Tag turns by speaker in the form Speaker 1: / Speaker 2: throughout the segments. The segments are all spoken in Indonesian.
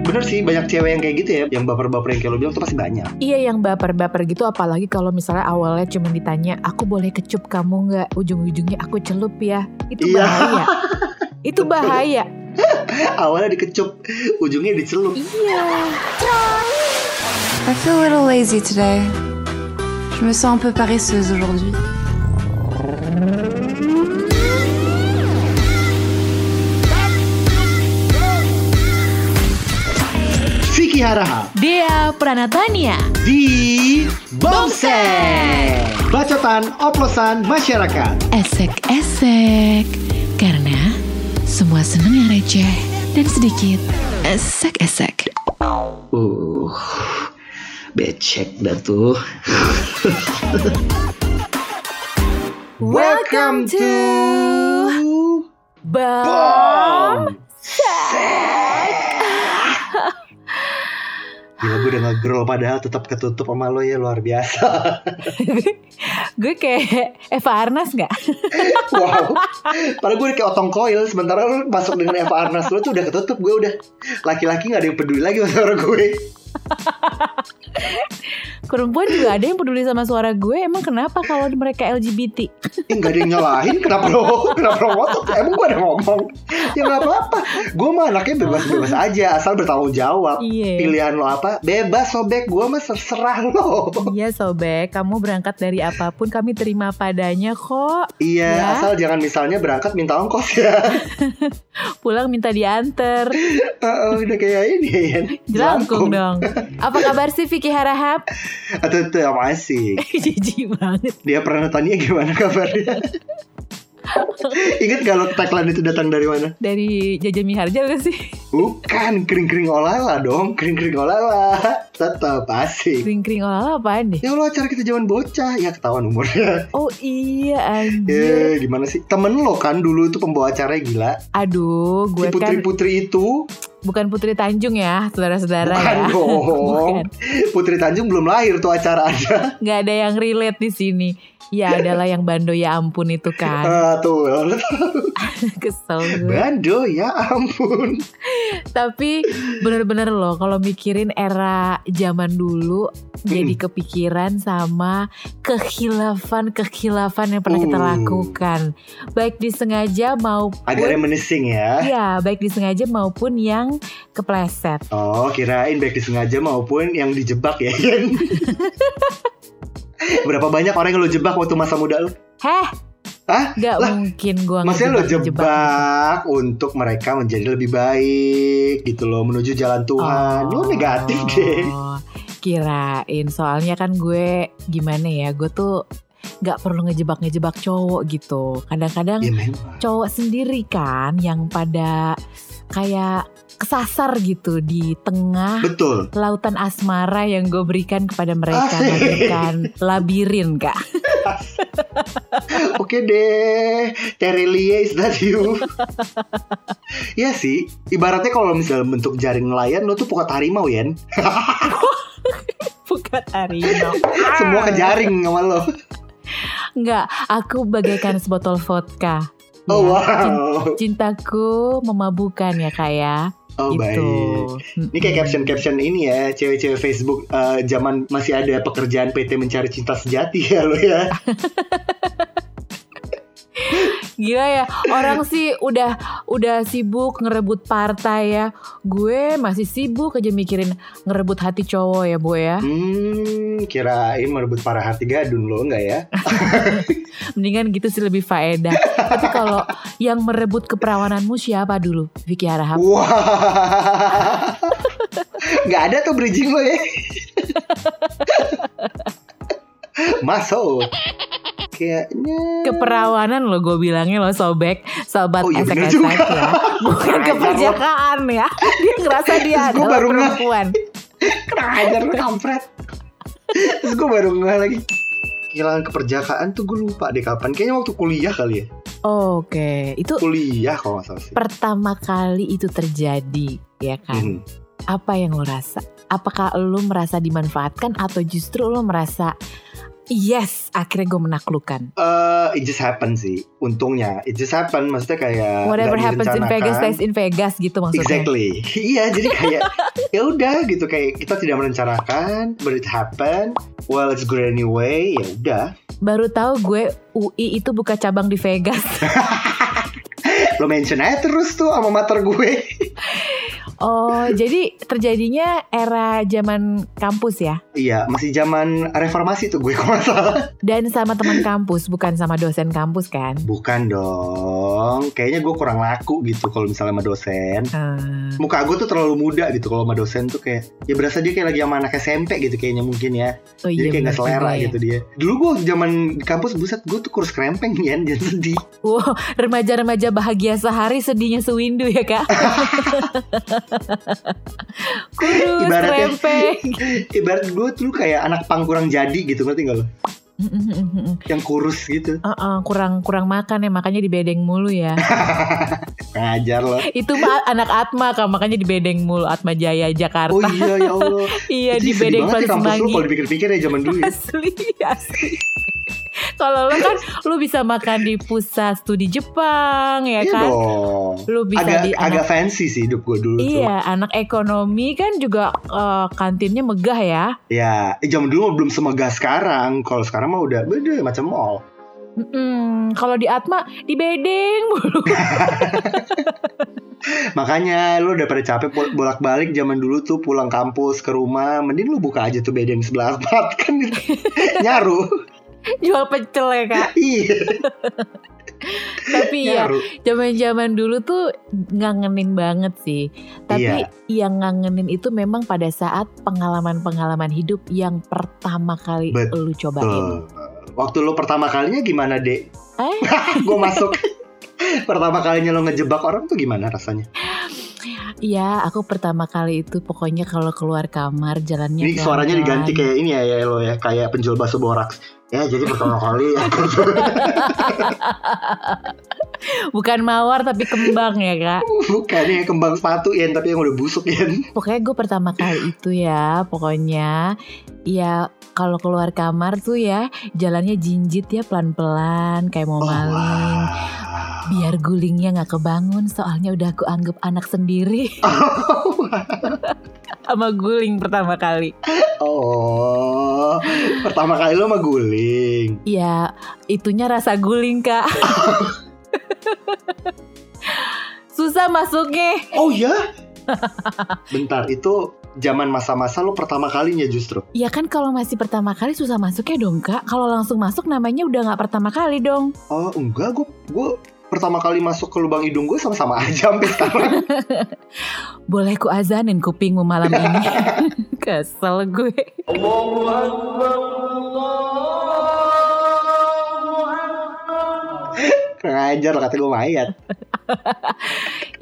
Speaker 1: bener sih banyak cewek yang kayak gitu ya yang baper-baper yang kayak lo bilang tuh pasti banyak
Speaker 2: Iya yang baper-baper gitu apalagi kalau misalnya awalnya cuma ditanya aku boleh kecup kamu nggak ujung-ujungnya aku celup ya itu
Speaker 1: Iya.
Speaker 2: bahaya itu bahaya
Speaker 1: Ya, awalnya dikecup ujungnya dicelup
Speaker 2: iya
Speaker 3: I feel a little lazy today. Je me sens un peu paresseuse aujourd'hui.
Speaker 1: Vicky Haraha
Speaker 2: dia Pranatania
Speaker 1: di Bomsek bacotan oplosan masyarakat
Speaker 4: esek-esek karena semua seneng yang receh dan sedikit esek-esek.
Speaker 1: Uh, becek dah tuh. Welcome to
Speaker 2: Bom
Speaker 1: Gila gue udah nge-grow padahal tetap ketutup sama lo ya luar biasa
Speaker 2: gue kayak Eva Arnas nggak
Speaker 1: Wow Padahal gue kayak otong koil Sementara lo masuk dengan Eva Arnas lo tuh udah ketutup Gue udah Laki-laki gak ada yang peduli lagi sama suara gue
Speaker 2: perempuan juga ada yang peduli sama suara gue emang kenapa kalau mereka LGBT
Speaker 1: Ih, nggak ada yang nyalahin kenapa lo kenapa lo ngotot emang gue ada ngomong ya nggak apa-apa gue mah anaknya bebas-bebas aja asal bertanggung jawab
Speaker 2: Iya.
Speaker 1: pilihan lo apa bebas sobek gue mah terserah lo
Speaker 2: Iya sobek kamu berangkat dari apapun kami terima padanya kok
Speaker 1: iya
Speaker 2: Ya.
Speaker 1: asal jangan misalnya berangkat minta ongkos ya
Speaker 2: pulang minta diantar
Speaker 1: Heeh, udah kayak ini ya
Speaker 2: Jelangkung dong Apa kabar sih Vicky Harahap?
Speaker 1: atau itu yang asik
Speaker 2: Jijik banget
Speaker 1: dia pernah tanya gimana kabarnya Ingat kalau tagline itu datang dari mana?
Speaker 2: Dari Jaja Miharja gak sih?
Speaker 1: Bukan kering-kering olala dong, kering-kering olala. Tetap asik.
Speaker 2: Kring-kring olala apaan deh?
Speaker 1: Ya Allah acara kita zaman bocah Ya ketahuan umurnya
Speaker 2: Oh iya
Speaker 1: Ya
Speaker 2: anjir
Speaker 1: gimana sih Temen lo kan dulu itu pembawa acaranya gila
Speaker 2: Aduh
Speaker 1: Si
Speaker 2: gue kan
Speaker 1: putri-putri itu
Speaker 2: bukan Putri Tanjung ya Saudara-saudara
Speaker 1: Bukan
Speaker 2: ya
Speaker 1: dong
Speaker 2: Bukan.
Speaker 1: Putri Tanjung belum lahir tuh acara ada
Speaker 2: Gak ada yang relate di sini Ya adalah yang bando ya ampun itu kan
Speaker 1: Ah, Tuh lo
Speaker 2: Kesel gue
Speaker 1: Bando ya ampun
Speaker 2: Tapi bener-bener loh Kalau mikirin era zaman dulu
Speaker 1: Hmm.
Speaker 2: Jadi kepikiran sama Kehilafan-kehilafan yang pernah kita
Speaker 1: Uh.
Speaker 2: lakukan Baik disengaja
Speaker 1: Agarnya
Speaker 2: maupun
Speaker 1: menising ya
Speaker 2: Ya baik disengaja maupun yang kepleset
Speaker 1: Oh kirain baik disengaja maupun yang dijebak ya Yan? Berapa banyak orang yang lo jebak waktu masa muda lo?
Speaker 2: Heh
Speaker 1: Hah?
Speaker 2: Gak
Speaker 1: Lah,
Speaker 2: mungkin gue
Speaker 1: Maksudnya lo jebak untuk mereka menjadi lebih baik gitu loh menuju jalan Tuhan.
Speaker 2: Oh.
Speaker 1: Lo negatif deh.
Speaker 2: Kirain soalnya kan gue gimana ya gue tuh gak perlu ngejebak-ngejebak cowok gitu Kadang-kadang
Speaker 1: Ya memang.
Speaker 2: cowok sendiri kan yang pada kayak kesasar gitu di tengah
Speaker 1: Betul.
Speaker 2: lautan asmara yang gue berikan kepada mereka
Speaker 1: Asik.
Speaker 2: bagaikan labirin kak
Speaker 1: Oke deh. Terelie is that you? Iya sih. Ibaratnya kalau misalnya bentuk jaring nelayan lo tuh pukat harimau Yen.
Speaker 2: bukan harimau
Speaker 1: Semua kejaring sama lo.
Speaker 2: Enggak, aku bagaikan sebotol vodka
Speaker 1: Oh
Speaker 2: Ya, cin-
Speaker 1: wow.
Speaker 2: Cintaku memabukan ya kak ya
Speaker 1: Oh
Speaker 2: Gitu
Speaker 1: baik. Ini kayak caption-caption ini ya, cewek-cewek Facebook eh, zaman masih ada pekerjaan PT mencari cinta sejati ya lo ya.
Speaker 2: Gila ya Orang sih udah Udah sibuk ngerebut partai ya Gue masih sibuk aja mikirin Ngerebut hati cowok ya bu ya
Speaker 1: Hmm, kirain merebut para hati gadun lo enggak ya?
Speaker 2: Mendingan gitu sih lebih faedah. Tapi kalau yang merebut keperawananmu siapa dulu? Vicky Harahap.
Speaker 1: Wah. Enggak ada tuh bridging lo ya. Masuk. Kayaknya
Speaker 2: Keperawanan lo gue bilangnya lo sobek Sobat
Speaker 1: Oh iya, bener juga.
Speaker 2: esek-esek ya Bukan
Speaker 1: Kurang ajar
Speaker 2: keperjakaan ya Dia ngerasa
Speaker 1: Terus
Speaker 2: dia
Speaker 1: gua
Speaker 2: adalah
Speaker 1: baru ngeh.
Speaker 2: perempuan
Speaker 1: kurang ajar lo, kampret. Terus gue baru ngeh lagi. Kehilangan keperjakaan tuh gue lupa deh kapan. Kayaknya waktu kuliah kali ya.
Speaker 2: Oke Itu
Speaker 1: Kuliah kalau nggak salah sih.
Speaker 2: pertama kali itu terjadi Ya kan
Speaker 1: Hmm.
Speaker 2: Apa yang lo rasa? Apakah lo merasa dimanfaatkan Atau justru lo merasa Yes akhirnya gue menaklukkan
Speaker 1: Eh, Eh, it just happen sih. Untungnya, it just happen. Maksudnya kayak
Speaker 2: Whatever
Speaker 1: nggak
Speaker 2: happens in Vegas
Speaker 1: direncanakan.
Speaker 2: stays in Vegas gitu maksudnya.
Speaker 1: Exactly. Iya, jadi kayak ya udah gitu kayak kita tidak merencanakan, but it happen. Well, it's good anyway. Ya udah.
Speaker 2: Baru tahu gue UI itu buka cabang di Vegas.
Speaker 1: Lo mention aja terus tuh sama mater gue.
Speaker 2: Oh, jadi terjadinya era zaman kampus ya.
Speaker 1: Iya, masih zaman reformasi tuh gue kalau nggak salah.
Speaker 2: Dan sama teman kampus, bukan sama dosen kampus kan?
Speaker 1: Bukan dong. Kayaknya gue kurang laku gitu kalau misalnya sama dosen.
Speaker 2: Eh,
Speaker 1: Muka gue tuh terlalu muda gitu kalau sama dosen tuh kayak ya berasa dia kayak lagi sama anak SMP gitu kayaknya mungkin ya.
Speaker 2: oh
Speaker 1: Jadi kayak
Speaker 2: bener
Speaker 1: gak selera
Speaker 2: juga ya.
Speaker 1: gitu dia. Dulu gue zaman di kampus buset gue tuh kurus krempeng ya, jangan sedih.
Speaker 2: Wow, remaja-remaja bahagia sehari sedihnya sewindu ya kak. Kurus,
Speaker 1: Ibaratnya-
Speaker 2: rempeng.
Speaker 1: Ibarat gue tuh kayak anak pang kurang jadi gitu ngerti gak lo?
Speaker 2: Mm-mm-mm-mm.
Speaker 1: Yang kurus gitu.
Speaker 2: Uh-uh, kurang kurang makan ya makanya dibedeng mulu ya.
Speaker 1: Ngajar lo.
Speaker 2: Itu mah anak Atma kak makanya dibedeng mulu Atma Jaya Jakarta.
Speaker 1: Oh iya ya Allah.
Speaker 2: iya
Speaker 1: Itu sedih
Speaker 2: dibedeng
Speaker 1: banget ya
Speaker 2: Plaza
Speaker 1: kampus lo kalau
Speaker 2: Semanggi.
Speaker 1: dipikir-pikir ya zaman dulu ya.
Speaker 2: Asli asli. Kalau lo kan lo bisa makan di pusat studi Jepang ya
Speaker 1: Iya
Speaker 2: kan.
Speaker 1: dong.
Speaker 2: Lo bisa
Speaker 1: agak
Speaker 2: di
Speaker 1: agak
Speaker 2: anak
Speaker 1: fancy sih hidup gue dulu tuh.
Speaker 2: Iya, anak ekonomi kan juga eh, kantinnya megah ya.
Speaker 1: Ya, eh, zaman dulu mah belum semegah sekarang. Kalau sekarang mah udah beda macam mall.
Speaker 2: Mm-mm, Kalau di Atma di bedeng mulu.
Speaker 1: Makanya lu udah pada capek pol- bolak-balik zaman dulu tuh pulang kampus ke rumah, mending lu buka aja tuh bedeng sebelah empat kan nyaru.
Speaker 2: Jual pecel ya kak.
Speaker 1: Iya,
Speaker 2: Tapi ya
Speaker 1: nyaru.
Speaker 2: zaman-zaman dulu tuh ngangenin banget sih. Tapi
Speaker 1: Iya.
Speaker 2: yang ngangenin itu memang pada saat pengalaman-pengalaman hidup yang pertama kali
Speaker 1: Betul.
Speaker 2: lu cobain.
Speaker 1: Tuh. Waktu lu pertama kalinya gimana, Dek?
Speaker 2: Eh?
Speaker 1: Gue masuk. pertama kalinya lo ngejebak orang tuh gimana rasanya?
Speaker 2: Iya, aku pertama kali itu pokoknya kalau keluar kamar jalannya
Speaker 1: Ini suaranya
Speaker 2: pelan-pelan.
Speaker 1: diganti kayak ini ya, ya lo ya, kayak penjual bakso boraks. Ya, jadi pertama kali ya. aku
Speaker 2: bukan mawar tapi kembang ya kak.
Speaker 1: bukan ya kembang sepatu ya, tapi yang udah busuk ya.
Speaker 2: Pokoknya gue pertama kali itu ya, pokoknya ya kalau keluar kamar tuh ya jalannya jinjit ya pelan-pelan kayak mau
Speaker 1: Oh,
Speaker 2: maling.
Speaker 1: wah.
Speaker 2: Biar gulingnya nggak kebangun soalnya udah aku anggap anak sendiri sama guling pertama kali.
Speaker 1: Oh, pertama kali lo mah guling.
Speaker 2: Ya itunya rasa guling kak. Susah masuknya.
Speaker 1: Oh ya? Bentar, itu zaman masa-masa lo pertama kalinya justru.
Speaker 2: Ya kan kalau masih pertama kali susah masuknya dong kak. Kalau langsung masuk namanya udah nggak pertama kali dong.
Speaker 1: Oh enggak, gue gue pertama kali masuk ke lubang hidung gue sama-sama aja sampai sekarang.
Speaker 2: Boleh ku azanin kupingmu malam ini Kesel gue
Speaker 1: Ngajar lah kata gue mayat.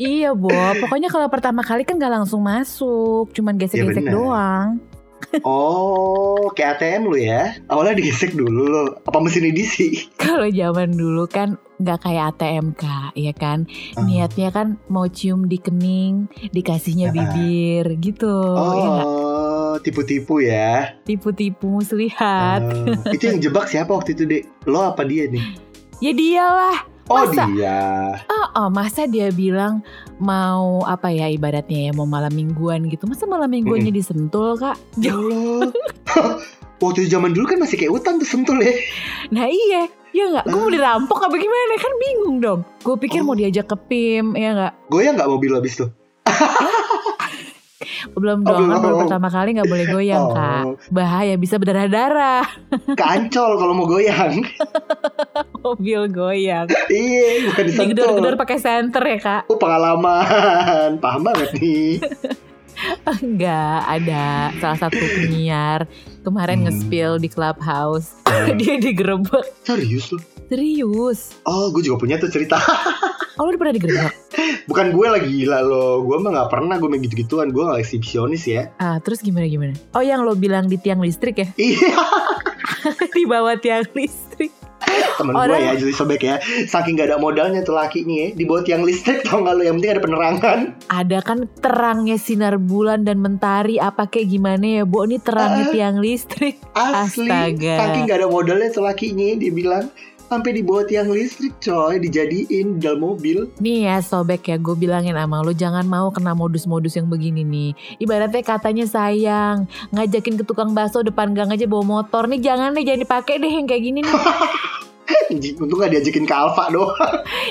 Speaker 2: Iya Bo Pokoknya kalau pertama kali kan gak langsung masuk Cuman gesek-gesek
Speaker 1: Iya, bener.
Speaker 2: doang
Speaker 1: Oh, kayak ATM lo ya? Awalnya digesek dulu lo. Apa mesin edisi?
Speaker 2: Kalau zaman dulu kan gak kayak ATM kak Iya kan Niatnya kan mau cium di kening
Speaker 1: Ah.
Speaker 2: Dikasihnya bibir gitu Iya nggak?
Speaker 1: Oh, tipu-tipu ya.
Speaker 2: Tipu-tipu muslihat
Speaker 1: Oh, itu yang jebak siapa waktu itu, Dek? Lo apa dia nih?
Speaker 2: Ya dialah
Speaker 1: Oh,
Speaker 2: Masa?
Speaker 1: dia.
Speaker 2: Oh, oh, masa dia bilang mau apa ya ibaratnya ya mau malam mingguan gitu masa malam mingguannya disentul kak
Speaker 1: Ya Allah. Waktu itu zaman dulu kan masih kayak utang tuh sentul ya.
Speaker 2: Nah iya, ya nggak. Gue mau dirampok apa gimana? Kan bingung dong. Gue
Speaker 1: Mm.
Speaker 2: pikir
Speaker 1: Oh.
Speaker 2: mau diajak ke PIM, ya nggak?
Speaker 1: Goyang nggak mobil lo abis tuh?
Speaker 2: Belum
Speaker 1: Oh,
Speaker 2: dong, kan
Speaker 1: belum.
Speaker 2: baru pertama kali nggak boleh goyang
Speaker 1: Oh.
Speaker 2: kak. Bahaya bisa berdarah-darah
Speaker 1: Kancol kalau mau goyang.
Speaker 2: mobil goyang.
Speaker 1: iya, bukan disentul.
Speaker 2: Digedor-gedor pakai senter ya kak?
Speaker 1: Oh pengalaman, paham banget nih.
Speaker 2: Enggak, ada salah satu penyiar kemarin
Speaker 1: Hmm. Iya.
Speaker 2: nge-spill di clubhouse. Dia digerebek.
Speaker 1: Serius lo?
Speaker 2: Serius?
Speaker 1: Oh, gue juga punya tuh cerita.
Speaker 2: Oh lu udah pernah digerebek?
Speaker 1: Bukan gue lagi gila lo. Gue mah nggak pernah gue main gitu-gituan. Gue nggak eksibisionis ya.
Speaker 2: Ah, terus gimana gimana? Oh yang lo bilang di tiang listrik ya?
Speaker 1: Iya,
Speaker 2: di bawah tiang listrik.
Speaker 1: temen gue ya
Speaker 2: Orang-
Speaker 1: jadi sobek ya. Saking gak ada modalnya tuh laki nih ya. Dibawa tiang listrik tau gak lo? Yang penting ada penerangan.
Speaker 2: ada kan terangnya sinar bulan dan mentari apa kayak gimana ya bu ini
Speaker 1: Ah.
Speaker 2: terangnya tiang listrik
Speaker 1: Asli,
Speaker 2: Astaga.
Speaker 1: saking gak ada modalnya tuh lakinya ya, dia bilang sampai dibawa tiang listrik coy dijadiin dalam mobil
Speaker 2: Nih ya sobek ya gue bilangin sama lo jangan mau kena modus-modus yang begini nih Ibaratnya katanya sayang Ngajakin ke tukang bakso depan gang aja bawa motor Nih jangan deh jangan dipakai deh yang kayak gini nih
Speaker 1: untung gak diajakin ke Alfa doh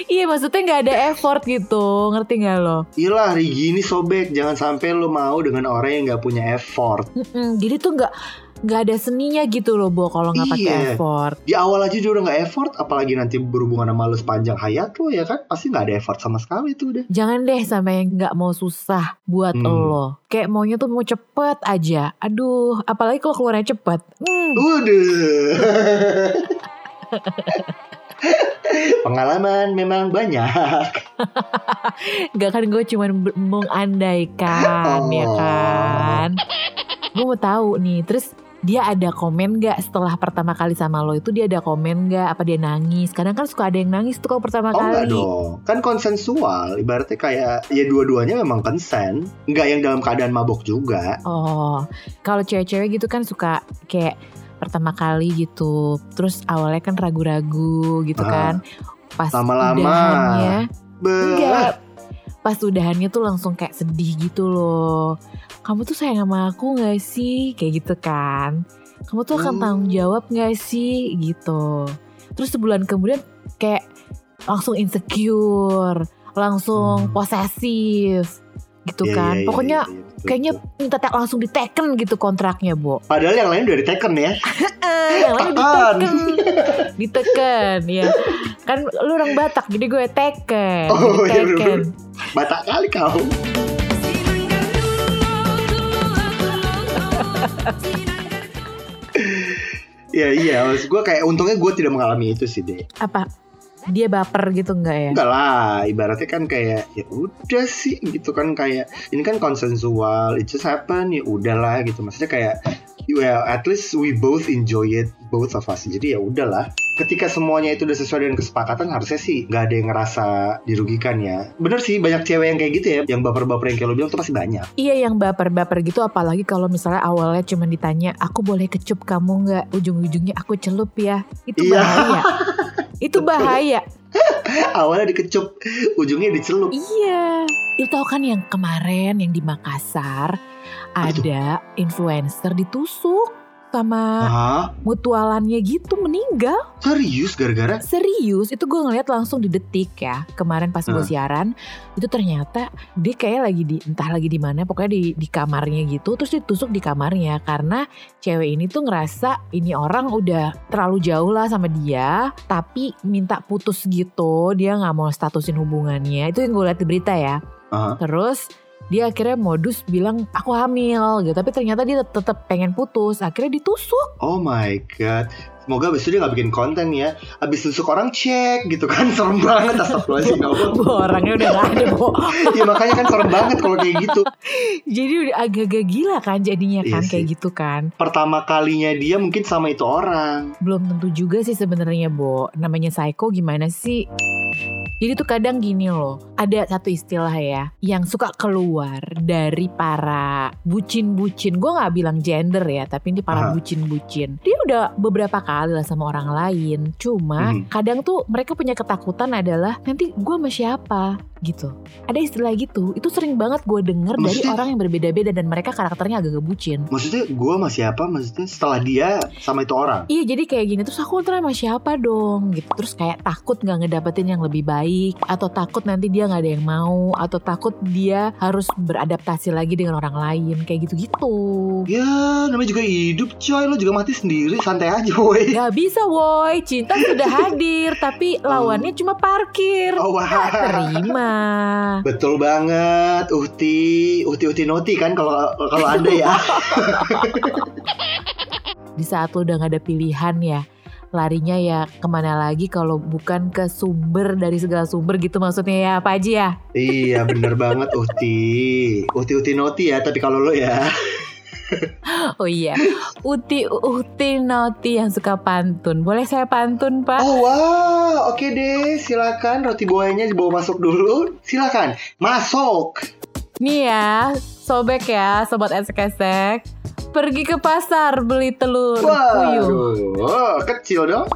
Speaker 2: Iya maksudnya gak ada effort gitu Ngerti gak lo?
Speaker 1: Iyalah Rigi ini sobek Jangan sampai lo mau dengan orang yang gak punya effort
Speaker 2: Mm-mm, Jadi tuh gak nggak ada seninya gitu loh Bo kalau nggak pakai
Speaker 1: Iya.
Speaker 2: effort
Speaker 1: Di awal aja dia udah gak effort Apalagi nanti berhubungan sama lo sepanjang hayat lo ya kan Pasti gak ada effort sama sekali tuh udah
Speaker 2: jangan deh sama yang nggak mau susah buat
Speaker 1: Hmm.
Speaker 2: lo kayak maunya tuh mau cepet aja aduh apalagi kalau keluarnya cepet Hmm.
Speaker 1: Udah Pengalaman memang banyak
Speaker 2: Gak kan gue cuman ber- mengandaikan ya
Speaker 1: Oh.
Speaker 2: kan Gue mau tahu nih Terus dia ada komen gak setelah pertama kali sama lo itu Dia ada komen gak apa dia nangis Kadang kan suka ada yang nangis tuh kalau
Speaker 1: Oh
Speaker 2: pertama
Speaker 1: enggak
Speaker 2: kali
Speaker 1: dong Kan konsensual Ibaratnya kayak Ya dua-duanya memang konsen Enggak yang dalam keadaan mabok juga
Speaker 2: Oh kalau cewek-cewek gitu kan suka kayak pertama kali gitu Terus awalnya kan ragu-ragu gitu
Speaker 1: Ah.
Speaker 2: kan Pas
Speaker 1: Lama-lama.
Speaker 2: udahannya
Speaker 1: Be
Speaker 2: Enggak. Pas udahannya tuh langsung kayak sedih gitu loh. Kamu tuh sayang sama aku gak sih? Kayak gitu kan. Kamu tuh akan
Speaker 1: Hmm.
Speaker 2: tanggung jawab gak sih? Gitu. Terus sebulan kemudian kayak langsung insecure. Langsung
Speaker 1: Hmm.
Speaker 2: posesif. Gitu
Speaker 1: Iya,
Speaker 2: kan.
Speaker 1: iya, iya,
Speaker 2: Pokoknya
Speaker 1: iya, betul,
Speaker 2: kayaknya
Speaker 1: betul.
Speaker 2: minta te- langsung diteken gitu kontraknya, Bo.
Speaker 1: Padahal yang lain udah diteken ya
Speaker 2: Eh, yang lain
Speaker 1: Apaan?
Speaker 2: diteken. diteken, ya. Kan lu orang Batak, jadi gue teken.
Speaker 1: Oh, iya, bener-bener.
Speaker 2: diteken.
Speaker 1: Batak kali kau Ya iya, maksud gue kayak untungnya gue tidak mengalami itu sih deh.
Speaker 2: apa dia baper gitu enggak ya?
Speaker 1: Enggak lah, ibaratnya kan kayak ya udah sih gitu kan kayak ini kan konsensual, it just happen ya udahlah gitu. Maksudnya kayak well at least we both enjoy it both of us. Jadi ya udahlah. Ketika semuanya itu udah sesuai dengan kesepakatan harusnya sih nggak ada yang ngerasa dirugikan ya. Bener sih banyak cewek yang kayak gitu ya, yang baper-baper yang kayak lo bilang tuh pasti banyak.
Speaker 2: Iya yang baper-baper gitu apalagi kalau misalnya awalnya cuma ditanya aku boleh kecup kamu nggak ujung-ujungnya aku celup ya itu
Speaker 1: Iya.
Speaker 2: bahaya itu bahaya
Speaker 1: Awalnya dikecup, ujungnya dicelup.
Speaker 2: iya itu tau kan yang kemarin yang di Makassar
Speaker 1: Apa tuh?
Speaker 2: ada influencer ditusuk sama
Speaker 1: Hah?
Speaker 2: mutualannya gitu meninggal
Speaker 1: Serius gara-gara?
Speaker 2: serius itu gue ngeliat langsung di detik ya kemarin pas gue
Speaker 1: Hmm.
Speaker 2: siaran itu ternyata dia kayak lagi di entah lagi di mana pokoknya di di kamarnya gitu terus ditusuk di kamarnya karena cewek ini tuh ngerasa ini orang udah terlalu jauh lah sama dia tapi minta putus gitu dia nggak mau statusin hubungannya itu yang gue liat di berita ya
Speaker 1: Aha.
Speaker 2: terus dia akhirnya modus bilang aku hamil gitu tapi ternyata dia tetap pengen putus akhirnya ditusuk
Speaker 1: Oh my god. Semoga abis itu dia gak bikin konten ya. Abis tusuk orang cek gitu kan. Serem banget astagfirullahaladzim. ya Allah.
Speaker 2: orangnya udah gak ada Bo.
Speaker 1: ya makanya kan serem banget kalau kayak gitu.
Speaker 2: Jadi udah agak-agak gila kan jadinya
Speaker 1: Iya
Speaker 2: kan
Speaker 1: sih.
Speaker 2: kayak gitu kan.
Speaker 1: Pertama kalinya dia mungkin sama itu orang.
Speaker 2: Belum tentu juga sih sebenarnya, Bo. Namanya psycho gimana sih? Jadi tuh kadang gini loh, ada satu istilah ya yang suka keluar dari para bucin-bucin. Gue nggak bilang gender ya, tapi ini
Speaker 1: Aha.
Speaker 2: para bucin-bucin. Dia udah beberapa kali lah sama orang lain. Cuma
Speaker 1: Mhm.
Speaker 2: kadang tuh mereka punya ketakutan adalah nanti gue sama siapa gitu. Ada istilah gitu. Itu sering banget gue denger dari
Speaker 1: Maksudnya-
Speaker 2: orang yang berbeda-beda dan mereka karakternya agak-agak bucin.
Speaker 1: Maksudnya gue sama siapa? Maksudnya setelah dia sama itu orang.
Speaker 2: Iya jadi kayak gini terus aku ntar sama siapa dong gitu terus kayak takut nggak ngedapetin yang lebih baik atau takut nanti dia nggak ada yang mau atau takut dia harus beradaptasi lagi dengan orang lain kayak gitu gitu
Speaker 1: Ya namanya juga hidup coy. Lo juga mati sendiri. Santai aja woi.
Speaker 2: Gak bisa woi cinta sudah hadir tapi lawannya cuma parkir
Speaker 1: Oh, wah.
Speaker 2: terima
Speaker 1: Betul banget, Uhti, Uhti Uhti Noti kan kalau kalau anda ya.
Speaker 2: di saat lo udah gak ada pilihan ya larinya ya kemana lagi kalau bukan ke sumber dari segala sumber gitu maksudnya ya apa aja ya
Speaker 1: iya bener banget Uhti, Uhti Uhti Noti ya. Tapi kalau lo ya.
Speaker 2: Oh iya, Uti Uti Noti yang suka pantun. Boleh saya pantun, Pak?
Speaker 1: Oh wow, oke deh, silakan roti buahnya dibawa masuk dulu, silakan masuk.
Speaker 2: Nih ya, sobek ya, sobat esek-esek. Pergi ke pasar beli telur puyuh.
Speaker 1: Waduh, oh, kecil dong.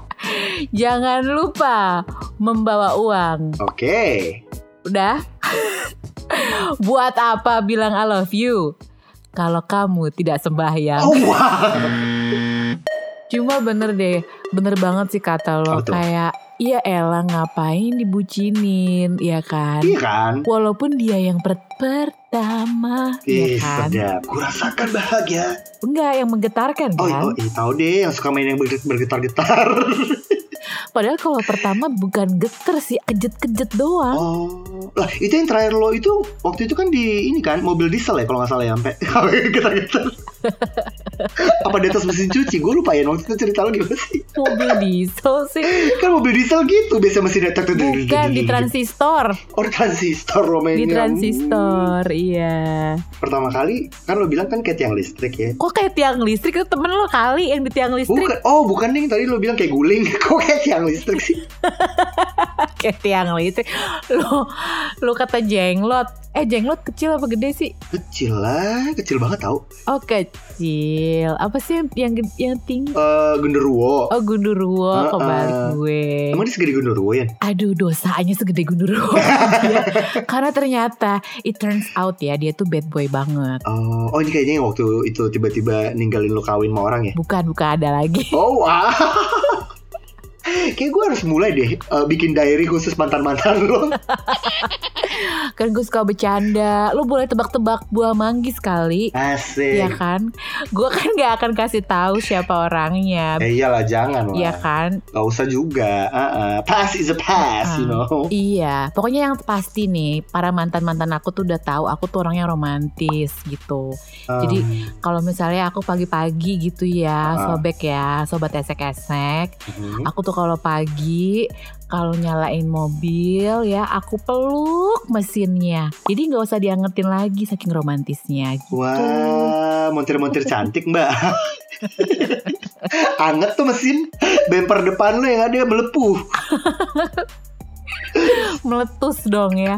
Speaker 2: Jangan lupa membawa uang.
Speaker 1: Oke.
Speaker 2: Udah? Buat apa bilang I love you? Kalau kamu tidak sembahyang.
Speaker 1: Oh wow.
Speaker 2: Cuma bener deh, bener banget sih kata lo
Speaker 1: Apa tuh?
Speaker 2: kayak iya Ella ngapain dibucinin, ya kan?
Speaker 1: Iya kan?
Speaker 2: Walaupun dia yang per- pertama,
Speaker 1: Ih,
Speaker 2: ya kan?
Speaker 1: sedap. Kurasakan bahagia.
Speaker 2: Enggak yang menggetarkan
Speaker 1: Oh,
Speaker 2: kan?
Speaker 1: oh, iya tahu deh yang suka main yang berget- bergetar-getar.
Speaker 2: Padahal kalau pertama bukan geter sih, kejet-kejet doang.
Speaker 1: Oh, lah itu yang terakhir lo itu waktu itu kan di ini kan mobil diesel ya kalau nggak salah ya sampai getar-getar. Apa di atas mesin cuci? Gue lupa ya waktu itu cerita lo gimana sih?
Speaker 2: Mobil diesel sih,
Speaker 1: Kan mobil diesel gitu biasa mesin ada
Speaker 2: bukan di transistor,
Speaker 1: Oh di transistor Romania. Hmm.
Speaker 2: di transistor, iya.
Speaker 1: Pertama kali kan lo bilang kan kayak tiang listrik ya.
Speaker 2: Kok kayak tiang listrik itu temen lo kali yang di tiang listrik?
Speaker 1: Bukan, oh bukan nih tadi lo bilang kayak guling, kok kayak tiang listrik sih?
Speaker 2: kayak tiang listrik. Lo, lo kata jenglot. Eh jenglot kecil apa gede sih?
Speaker 1: Kecil lah, kecil banget tau.
Speaker 2: Oh kecil. Apa sih yang yang, ged- yang tinggi?
Speaker 1: Eh genderuwo.
Speaker 2: Oh gundurwo
Speaker 1: Uh-uh.
Speaker 2: kebalik gue.
Speaker 1: Emang dia segede genderuwo ya?
Speaker 2: Aduh dosanya segede gundurwo. Iya. Karena ternyata it turns out ya dia tuh bad boy banget.
Speaker 1: Oh, oh ini kayaknya yang waktu itu tiba-tiba ninggalin lo kawin sama orang ya?
Speaker 2: Bukan bukan ada lagi.
Speaker 1: Oh wah. Kayak gue harus mulai deh eh, bikin diary khusus mantan-mantan lo.
Speaker 2: Kan gue suka bercanda. Lo boleh tebak-tebak buah manggis kali.
Speaker 1: Asik.
Speaker 2: Iya kan? Gue kan gak akan kasih tahu siapa orangnya.
Speaker 1: Eh, iyalah jangan lah.
Speaker 2: Iya kan?
Speaker 1: Gak usah juga. Ah, ah. Pass is a pass, you know.
Speaker 2: Iya, pokoknya yang pasti nih, para mantan-mantan aku tuh udah tahu aku tuh orangnya romantis gitu. Jadi- Kalau misalnya aku pagi-pagi gitu ya,
Speaker 1: Ah.
Speaker 2: sobek ya, sobat esek-esek.
Speaker 1: Um,
Speaker 2: Aku tuh kalau pagi, kalau nyalain mobil ya, aku peluk mesinnya. Jadi nggak usah diangetin lagi saking romantisnya.
Speaker 1: Wah, montir-montir cantik mbak. Anget tuh mesin bumper depan lo yang ada melepuh.
Speaker 2: Meletus dong ya.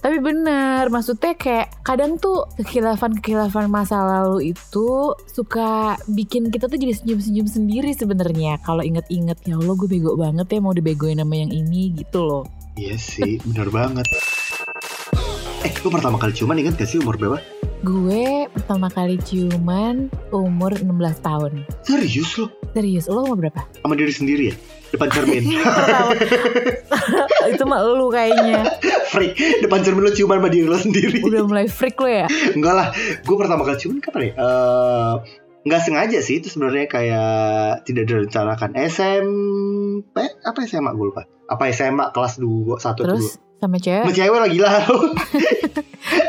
Speaker 2: Tapi bener, maksudnya kayak kadang tuh kekhilafan-kekhilafan masa lalu itu suka bikin kita tuh jadi senyum-senyum sendiri sebenarnya. Kalau inget-inget ya Allah gue bego banget ya mau dibegoin sama yang ini gitu loh.
Speaker 1: Iya sih, bener banget. Eh, lo pertama kali ciuman inget gak sih umur berapa?
Speaker 2: Gue pertama kali ciuman umur 16 tahun.
Speaker 1: Serius lo?
Speaker 2: Serius, lo umur berapa?
Speaker 1: Sama diri sendiri ya? Depan cermin.
Speaker 2: Pertama- itu mah lu kayaknya
Speaker 1: Freak, depan cermin lo ciuman sama diri lo sendiri.
Speaker 2: udah mulai freak lo ya.
Speaker 1: Enggak lah, gue pertama kali ciuman kapan ya? Eh, Nggak sengaja sih, itu sebenarnya kayak tidak direncanakan SMP, apa SMA gue lupa. Apa SMA kelas 2, 1 atau 2.
Speaker 2: Terus
Speaker 1: Sama
Speaker 2: sama cewek.
Speaker 1: cewek lagi lah lu.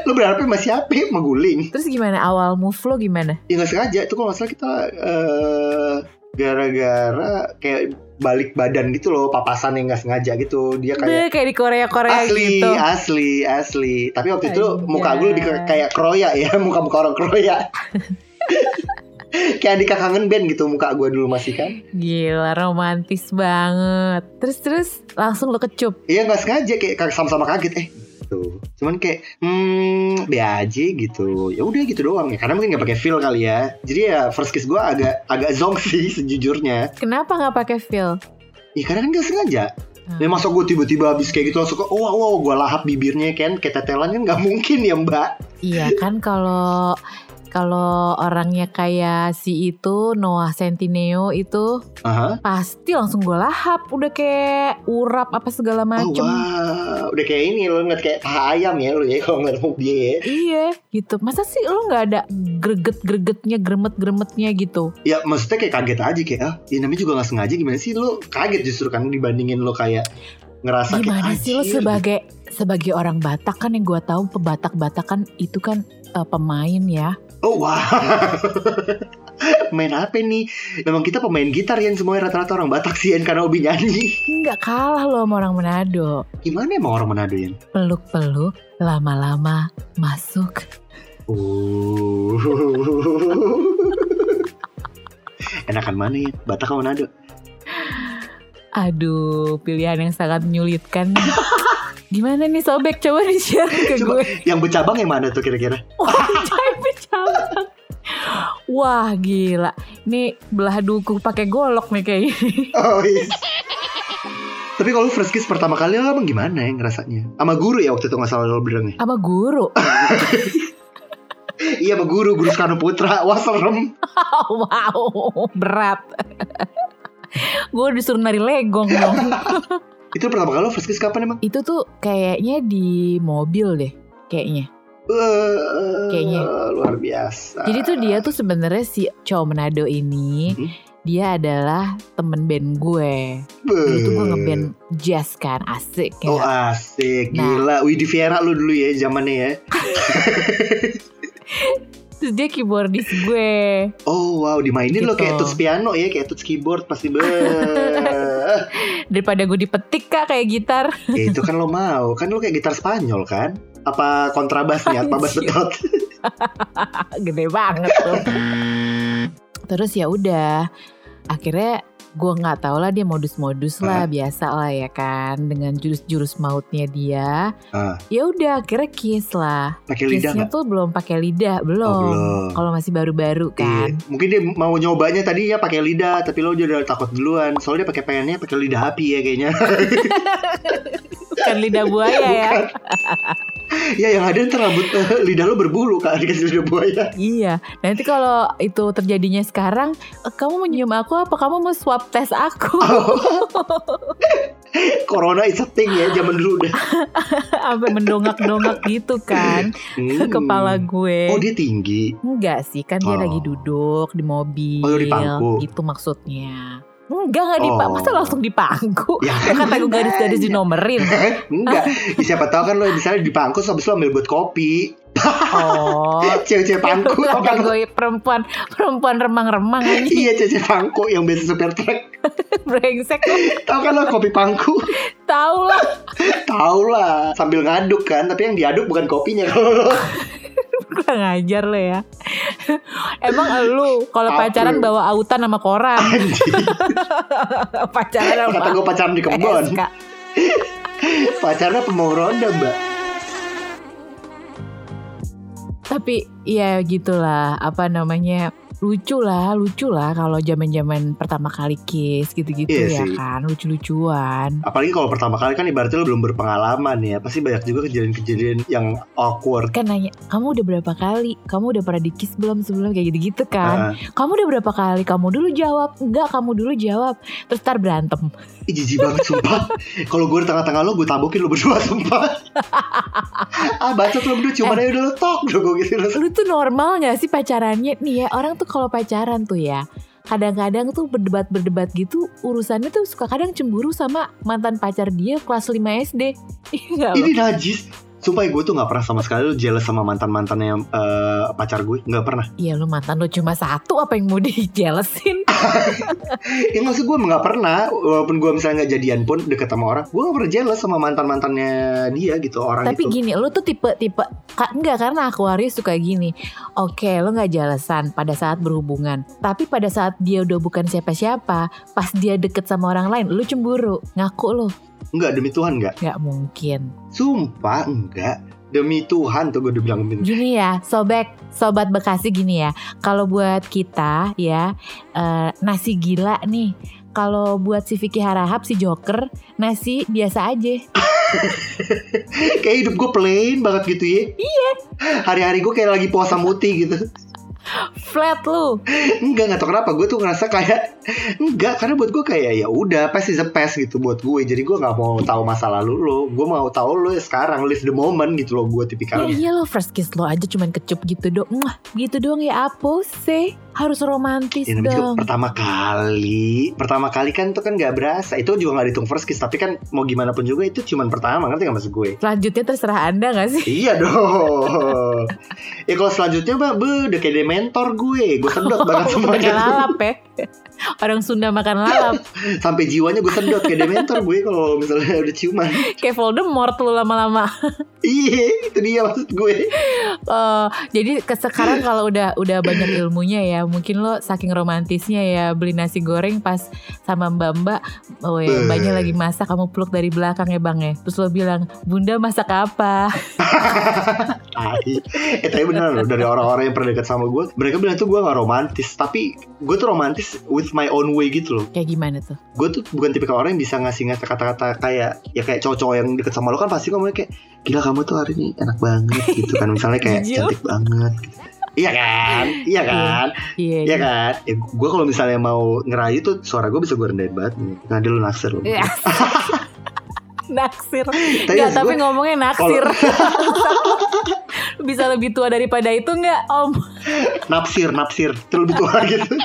Speaker 1: lu berharapnya masih apa? Mengguling.
Speaker 2: Terus gimana awal move lo gimana?
Speaker 1: Ya nggak sengaja. Itu kalau nggak salah kita eh, gara-gara kayak balik badan gitu loh. Papasan yang nggak sengaja gitu. Dia kayak
Speaker 2: Beuh, kayak di Korea-Korea
Speaker 1: asli,
Speaker 2: gitu.
Speaker 1: asli, asli. Tapi waktu itu
Speaker 2: Anjay.
Speaker 1: muka gue lebih ke- kayak kroya ya. Muka-muka orang kroya. kayak di kangen band gitu muka gue dulu masih kan.
Speaker 2: Gila romantis banget Terus terus langsung lo kecup
Speaker 1: Iya nggak sengaja kayak kag- sama-sama kaget eh gitu. Cuman kayak hmm be aja gitu. Ya udah gitu doang ya. Karena mungkin nggak pakai feel kali ya. Jadi ya first kiss gua agak agak zonk sih sejujurnya.
Speaker 2: Kenapa nggak pakai feel?
Speaker 1: Ya karena kan nggak sengaja.
Speaker 2: Hmm.
Speaker 1: Ya masa gue tiba-tiba habis kayak gitu langsung ke wow wow gue lahap bibirnya kan kayak tetelan kan nggak mungkin ya mbak.
Speaker 2: Iya kan kalau kalau orangnya kayak si itu Noah Centineo itu
Speaker 1: Aha.
Speaker 2: pasti langsung gue lahap udah kayak urap apa segala
Speaker 1: Oh
Speaker 2: macem
Speaker 1: wow. Udah kayak ini lo ngeliat kayak paha ayam ya lo ya kalau ngeliat mau dia ya.
Speaker 2: Iya gitu Masa sih lo nggak ada greget-gregetnya gremet-gremetnya gitu
Speaker 1: Ya maksudnya kayak kaget aja kayak ah ya namanya juga nggak sengaja gimana sih lo kaget justru kan dibandingin lo kayak ngerasa
Speaker 2: Gimana
Speaker 1: kayak
Speaker 2: sih lo
Speaker 1: "Anjir,
Speaker 2: sebagai sebagai orang Batak kan yang gue tahu Pebatak-Batak kan itu kan eh, pemain ya
Speaker 1: Oh wah. main apa nih? Memang kita pemain gitar yang semuanya rata-rata orang Batak sih Yan, karena hobi nyanyi.
Speaker 2: nggak kalah lo sama orang Manado
Speaker 1: Gimana emang orang Manado Yan?
Speaker 2: peluk-peluk, lama-lama masuk.
Speaker 1: Oh. Enakan mana ya? Batak atau Manado?
Speaker 2: Aduh, pilihan yang sangat menyulitkan. Gimana nih sobek coba di share ke
Speaker 1: Coba.
Speaker 2: gue.
Speaker 1: Yang bercabang yang mana tuh kira-kira?
Speaker 2: Wah, jangan bercabang. Wah gila, nih belah duku pakai golok nih kayaknya.
Speaker 1: Oh, is. Tapi kalau lu first kiss pertama kali lo emang gimana ya ngerasanya? Sama guru ya waktu itu nggak salah lo bilangnya.
Speaker 2: Sama guru.
Speaker 1: iya sama guru, guru Soekarno Putra. Wah serem.
Speaker 2: wow, berat. gue disuruh nari legong dong.
Speaker 1: Itu pertama kali lo first kiss kapan emang?
Speaker 2: Itu tuh kayaknya di mobil deh, kayaknya.
Speaker 1: Eh,
Speaker 2: Kayaknya.
Speaker 1: luar biasa.
Speaker 2: Jadi tuh dia tuh sebenarnya si cowok Manado ini
Speaker 1: Mhm.
Speaker 2: dia adalah temen band gue. Dulu tuh gue ngeband jazz kan, asik
Speaker 1: Oh
Speaker 2: kayak.
Speaker 1: asik,
Speaker 2: Nah.
Speaker 1: gila. Widi Fiera lu dulu ya zamannya ya.
Speaker 2: Terus dia keyboardis gue.
Speaker 1: Oh wow, dimainin lo kayak
Speaker 2: Gitu.
Speaker 1: tuts piano ya, kayak tuts keyboard pasti be. ya
Speaker 2: Daripada gue dipetik kak kayak gitar.
Speaker 1: itu kan lo mau, kan lo kayak gitar Spanyol kan? Apa kontrabas nih? Apa bass
Speaker 2: Anjir.
Speaker 1: betot?
Speaker 2: Gede banget tuh. Terus ya udah, akhirnya gue nggak tahu lah dia modus-modus lah biasa lah ya kan dengan jurus-jurus mautnya dia.
Speaker 1: Ah.
Speaker 2: Ya udah akhirnya kiss lah.
Speaker 1: Pakai lidah
Speaker 2: Kissnya
Speaker 1: nggak? Iya.
Speaker 2: tuh belum pakai lidah, Oh, belum.
Speaker 1: belum.
Speaker 2: Kalau masih baru-baru kan.
Speaker 1: Iya. Mungkin dia mau nyobanya tadi ya pakai lidah, tapi lo udah takut duluan. Soalnya dia pakai pengennya pakai lidah api ya kayaknya.
Speaker 2: Bukan lidah buaya ya.
Speaker 1: ya yang ada ntar rambut eh, lidah lo berbulu kak dikasih lidah buaya.
Speaker 2: Iya. Nanti kalau itu terjadinya sekarang, "Eh, kamu mau nyium aku apa kamu mau swab test aku?
Speaker 1: Oh. Corona is a thing ya zaman dulu udah.
Speaker 2: Sampai mendongak-dongak gitu kan ke
Speaker 1: Hmm.
Speaker 2: kepala gue.
Speaker 1: Oh dia tinggi.
Speaker 2: Enggak sih, kan
Speaker 1: Oh.
Speaker 2: dia lagi duduk di mobil.
Speaker 1: Oh, di pangku.
Speaker 2: Gitu maksudnya. Enggak, enggak di pangku.
Speaker 1: Oh.
Speaker 2: Masa langsung di pangku?
Speaker 1: Ya
Speaker 2: Kan kata gue garis-garis dinomerin.
Speaker 1: Enggak, ya, siapa tahu kan lo misalnya di pangkus habis lo ambil buat kopi.
Speaker 2: Oh.
Speaker 1: Cewek-cewek pangku,
Speaker 2: Itu
Speaker 1: tau kan lo?
Speaker 2: kategori Oh. perempuan perempuan remang-remang aja
Speaker 1: Iya cewek-cewek pangku yang biasa supir truk.
Speaker 2: brengsek
Speaker 1: Tahu kan lo kopi pangku?
Speaker 2: tau lah
Speaker 1: Tahu lah, sambil ngaduk kan, tapi yang diaduk bukan kopinya kalau lo.
Speaker 2: kurang ajar lo ya emang lu kalau
Speaker 1: Apa?
Speaker 2: pacaran bawa autan sama koran pacaran
Speaker 1: Kata
Speaker 2: sama
Speaker 1: gue pacaran di kebun.
Speaker 2: SK.
Speaker 1: Pacarnya pembawa ronda mbak.
Speaker 2: tapi ya gitulah apa namanya lucu lah lucu lah kalau zaman zaman pertama kali kiss gitu-gitu
Speaker 1: Iya
Speaker 2: ya
Speaker 1: sih.
Speaker 2: kan lucu-lucuan
Speaker 1: Apalagi kalau pertama kali kan ibaratnya lo belum berpengalaman ya, pasti banyak juga kejadian-kejadian yang awkward.
Speaker 2: kan nanya kamu udah berapa kali kamu udah pernah di kiss belum sebelum kayak gitu-gitu kan
Speaker 1: Heeh.
Speaker 2: kamu udah berapa kali kamu dulu jawab enggak kamu dulu jawab terus tar berantem
Speaker 1: Ih jijik banget sumpah Kalau gue di tengah-tengah lo Gue tabokin lo berdua sumpah Ah bacot lo berdua Cuman aja udah lo tok Udah gue gitu
Speaker 2: lu tuh normal gak sih pacarannya nih ya orang tuh kalau pacaran tuh ya kadang-kadang tuh berdebat berdebat gitu urusannya tuh suka kadang cemburu sama mantan pacar dia kelas 5 SD Iya
Speaker 1: Ini najis Sumpah gue tuh gak pernah sama sekali lo jealous sama mantan-mantannya eh, pacar gue Gak pernah
Speaker 2: Iya lu mantan lu cuma satu apa yang mau dijelesin
Speaker 1: Ya maksud gue gak pernah Walaupun gue misalnya gak jadian pun Deket sama orang Gue gak pernah jealous sama mantan-mantannya dia gitu Orang itu
Speaker 2: Tapi gini lu tuh tipe-tipe ka- Enggak karena Aquarius suka gini Oke lu gak jelesan pada saat berhubungan Tapi pada saat dia udah bukan siapa-siapa Pas dia deket sama orang lain lu cemburu Ngaku lu
Speaker 1: Enggak demi Tuhan enggak
Speaker 2: Gak mungkin
Speaker 1: Sumpah enggak Demi Tuhan tuh gue udah bilang
Speaker 2: Gini ya sobek Sobat Bekasi gini ya Kalau buat kita ya eh, Nasi gila nih kalau buat si Vicky Harahap, si Joker, nasi biasa aja.
Speaker 1: Kayak hidup gue plain banget gitu ya Iya Hari-hari gue kayak lagi puasa muti gitu
Speaker 2: Flat lu.
Speaker 1: enggak nggak tau kenapa gue tuh ngerasa kayak enggak karena buat gue kayak ya udah pasti the past gitu buat gue jadi gue nggak mau tahu masa lalu lo gue mau tahu lo ya sekarang live the moment gitu loh gue
Speaker 2: Ya
Speaker 1: tipikalnya
Speaker 2: iya lo first kiss lo aja cuman kecup gitu dong Mwah, Gitu doang ya apa sih Harus romantis
Speaker 1: Ya, namanya juga
Speaker 2: dong
Speaker 1: pertama kali Pertama kali kan itu kan gak berasa Itu juga gak dihitung first kiss Tapi kan mau gimana pun juga itu cuman pertama Ngerti gak maksud gue?
Speaker 2: Selanjutnya terserah anda gak sih
Speaker 1: iya dong Ya kalau selanjutnya mbak be, Udah kayak dementor gue Gue sedot banget
Speaker 2: Makan
Speaker 1: semuanya
Speaker 2: lalap ya Orang Sunda makan lalap
Speaker 1: Sampai jiwanya gue sedot Kayak dementor gue kalau misalnya udah ciuman
Speaker 2: Kayak Voldemort lo lama-lama
Speaker 1: Iya itu dia maksud gue
Speaker 2: Eh, Jadi ke sekarang kalau udah udah banyak ilmunya ya Mungkin lo saking romantisnya ya Beli nasi goreng pas sama mbak-mbak oh ya,
Speaker 1: Eh.
Speaker 2: Mbaknya lagi masak kamu peluk dari belakang ya bang ya Terus lo bilang Bunda masak apa
Speaker 1: Tai. eh tapi beneran loh dari orang-orang yang pernah dekat sama gue mereka bilang tuh gue gak romantis tapi gue tuh romantis tapi s- with my own way gitu loh
Speaker 2: Kayak gimana tuh?
Speaker 1: gue tuh bukan tipikal orang yang bisa ngasih ngasih kata-kata kayak ya kayak cowok-cowok yang deket sama lo kan pasti ngomongnya kayak gila kamu tuh hari ini enak banget gitu kan misalnya kayak
Speaker 2: Jujur.
Speaker 1: cantik banget gitu. iya kan iya kan
Speaker 2: Iya.
Speaker 1: iya
Speaker 2: iya.
Speaker 1: kan ya, gue kalau misalnya mau ngerayu tuh suara gue bisa gue rendahin banget nggak ada lu naksir lu
Speaker 2: Iya. naksir.
Speaker 1: Tapi
Speaker 2: Nggak,
Speaker 1: maksud
Speaker 2: tapi
Speaker 1: gue,
Speaker 2: ngomongnya naksir. Bisa lebih tua daripada itu nggak Om?
Speaker 1: napsir napsir Itu lebih tua gitu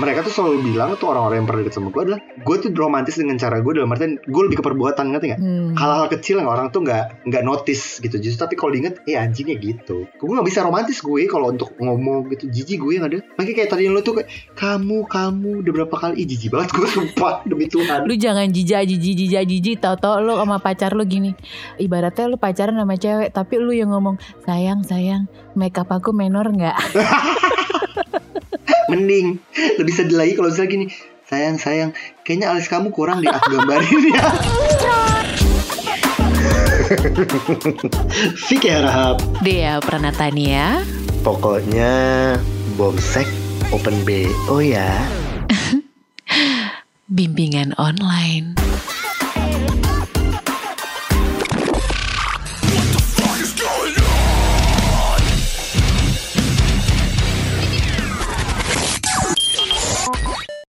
Speaker 1: mereka tuh selalu bilang tuh orang-orang yang pernah deket sama gue adalah gue tuh romantis dengan cara gue dalam artian gue lebih ke perbuatan ngerti nggak
Speaker 2: Hmm.
Speaker 1: hal-hal kecil yang orang tuh nggak nggak notice gitu justru tapi kalau diinget eh anjingnya gitu gue nggak bisa romantis gue kalau untuk ngomong gitu jijik gue yang ada makanya kayak tadi lo tuh kayak kamu kamu udah berapa kali ih jijik banget gue sumpah demi Tuhan
Speaker 2: Lu jangan jijak jijik jijak jijik tau-tau lu sama pacar lu gini. Ibaratnya lu pacaran sama cewek tapi lu yang ngomong, "Sayang, sayang, makeup aku menor nggak
Speaker 1: mending lebih sedih lagi kalau misalnya gini sayang sayang kayaknya alis kamu kurang di aku gambarin ya Fikir Rahab
Speaker 4: Dea Pranatania
Speaker 1: Pokoknya Bomsek Open B Oh ya
Speaker 4: Bimbingan Online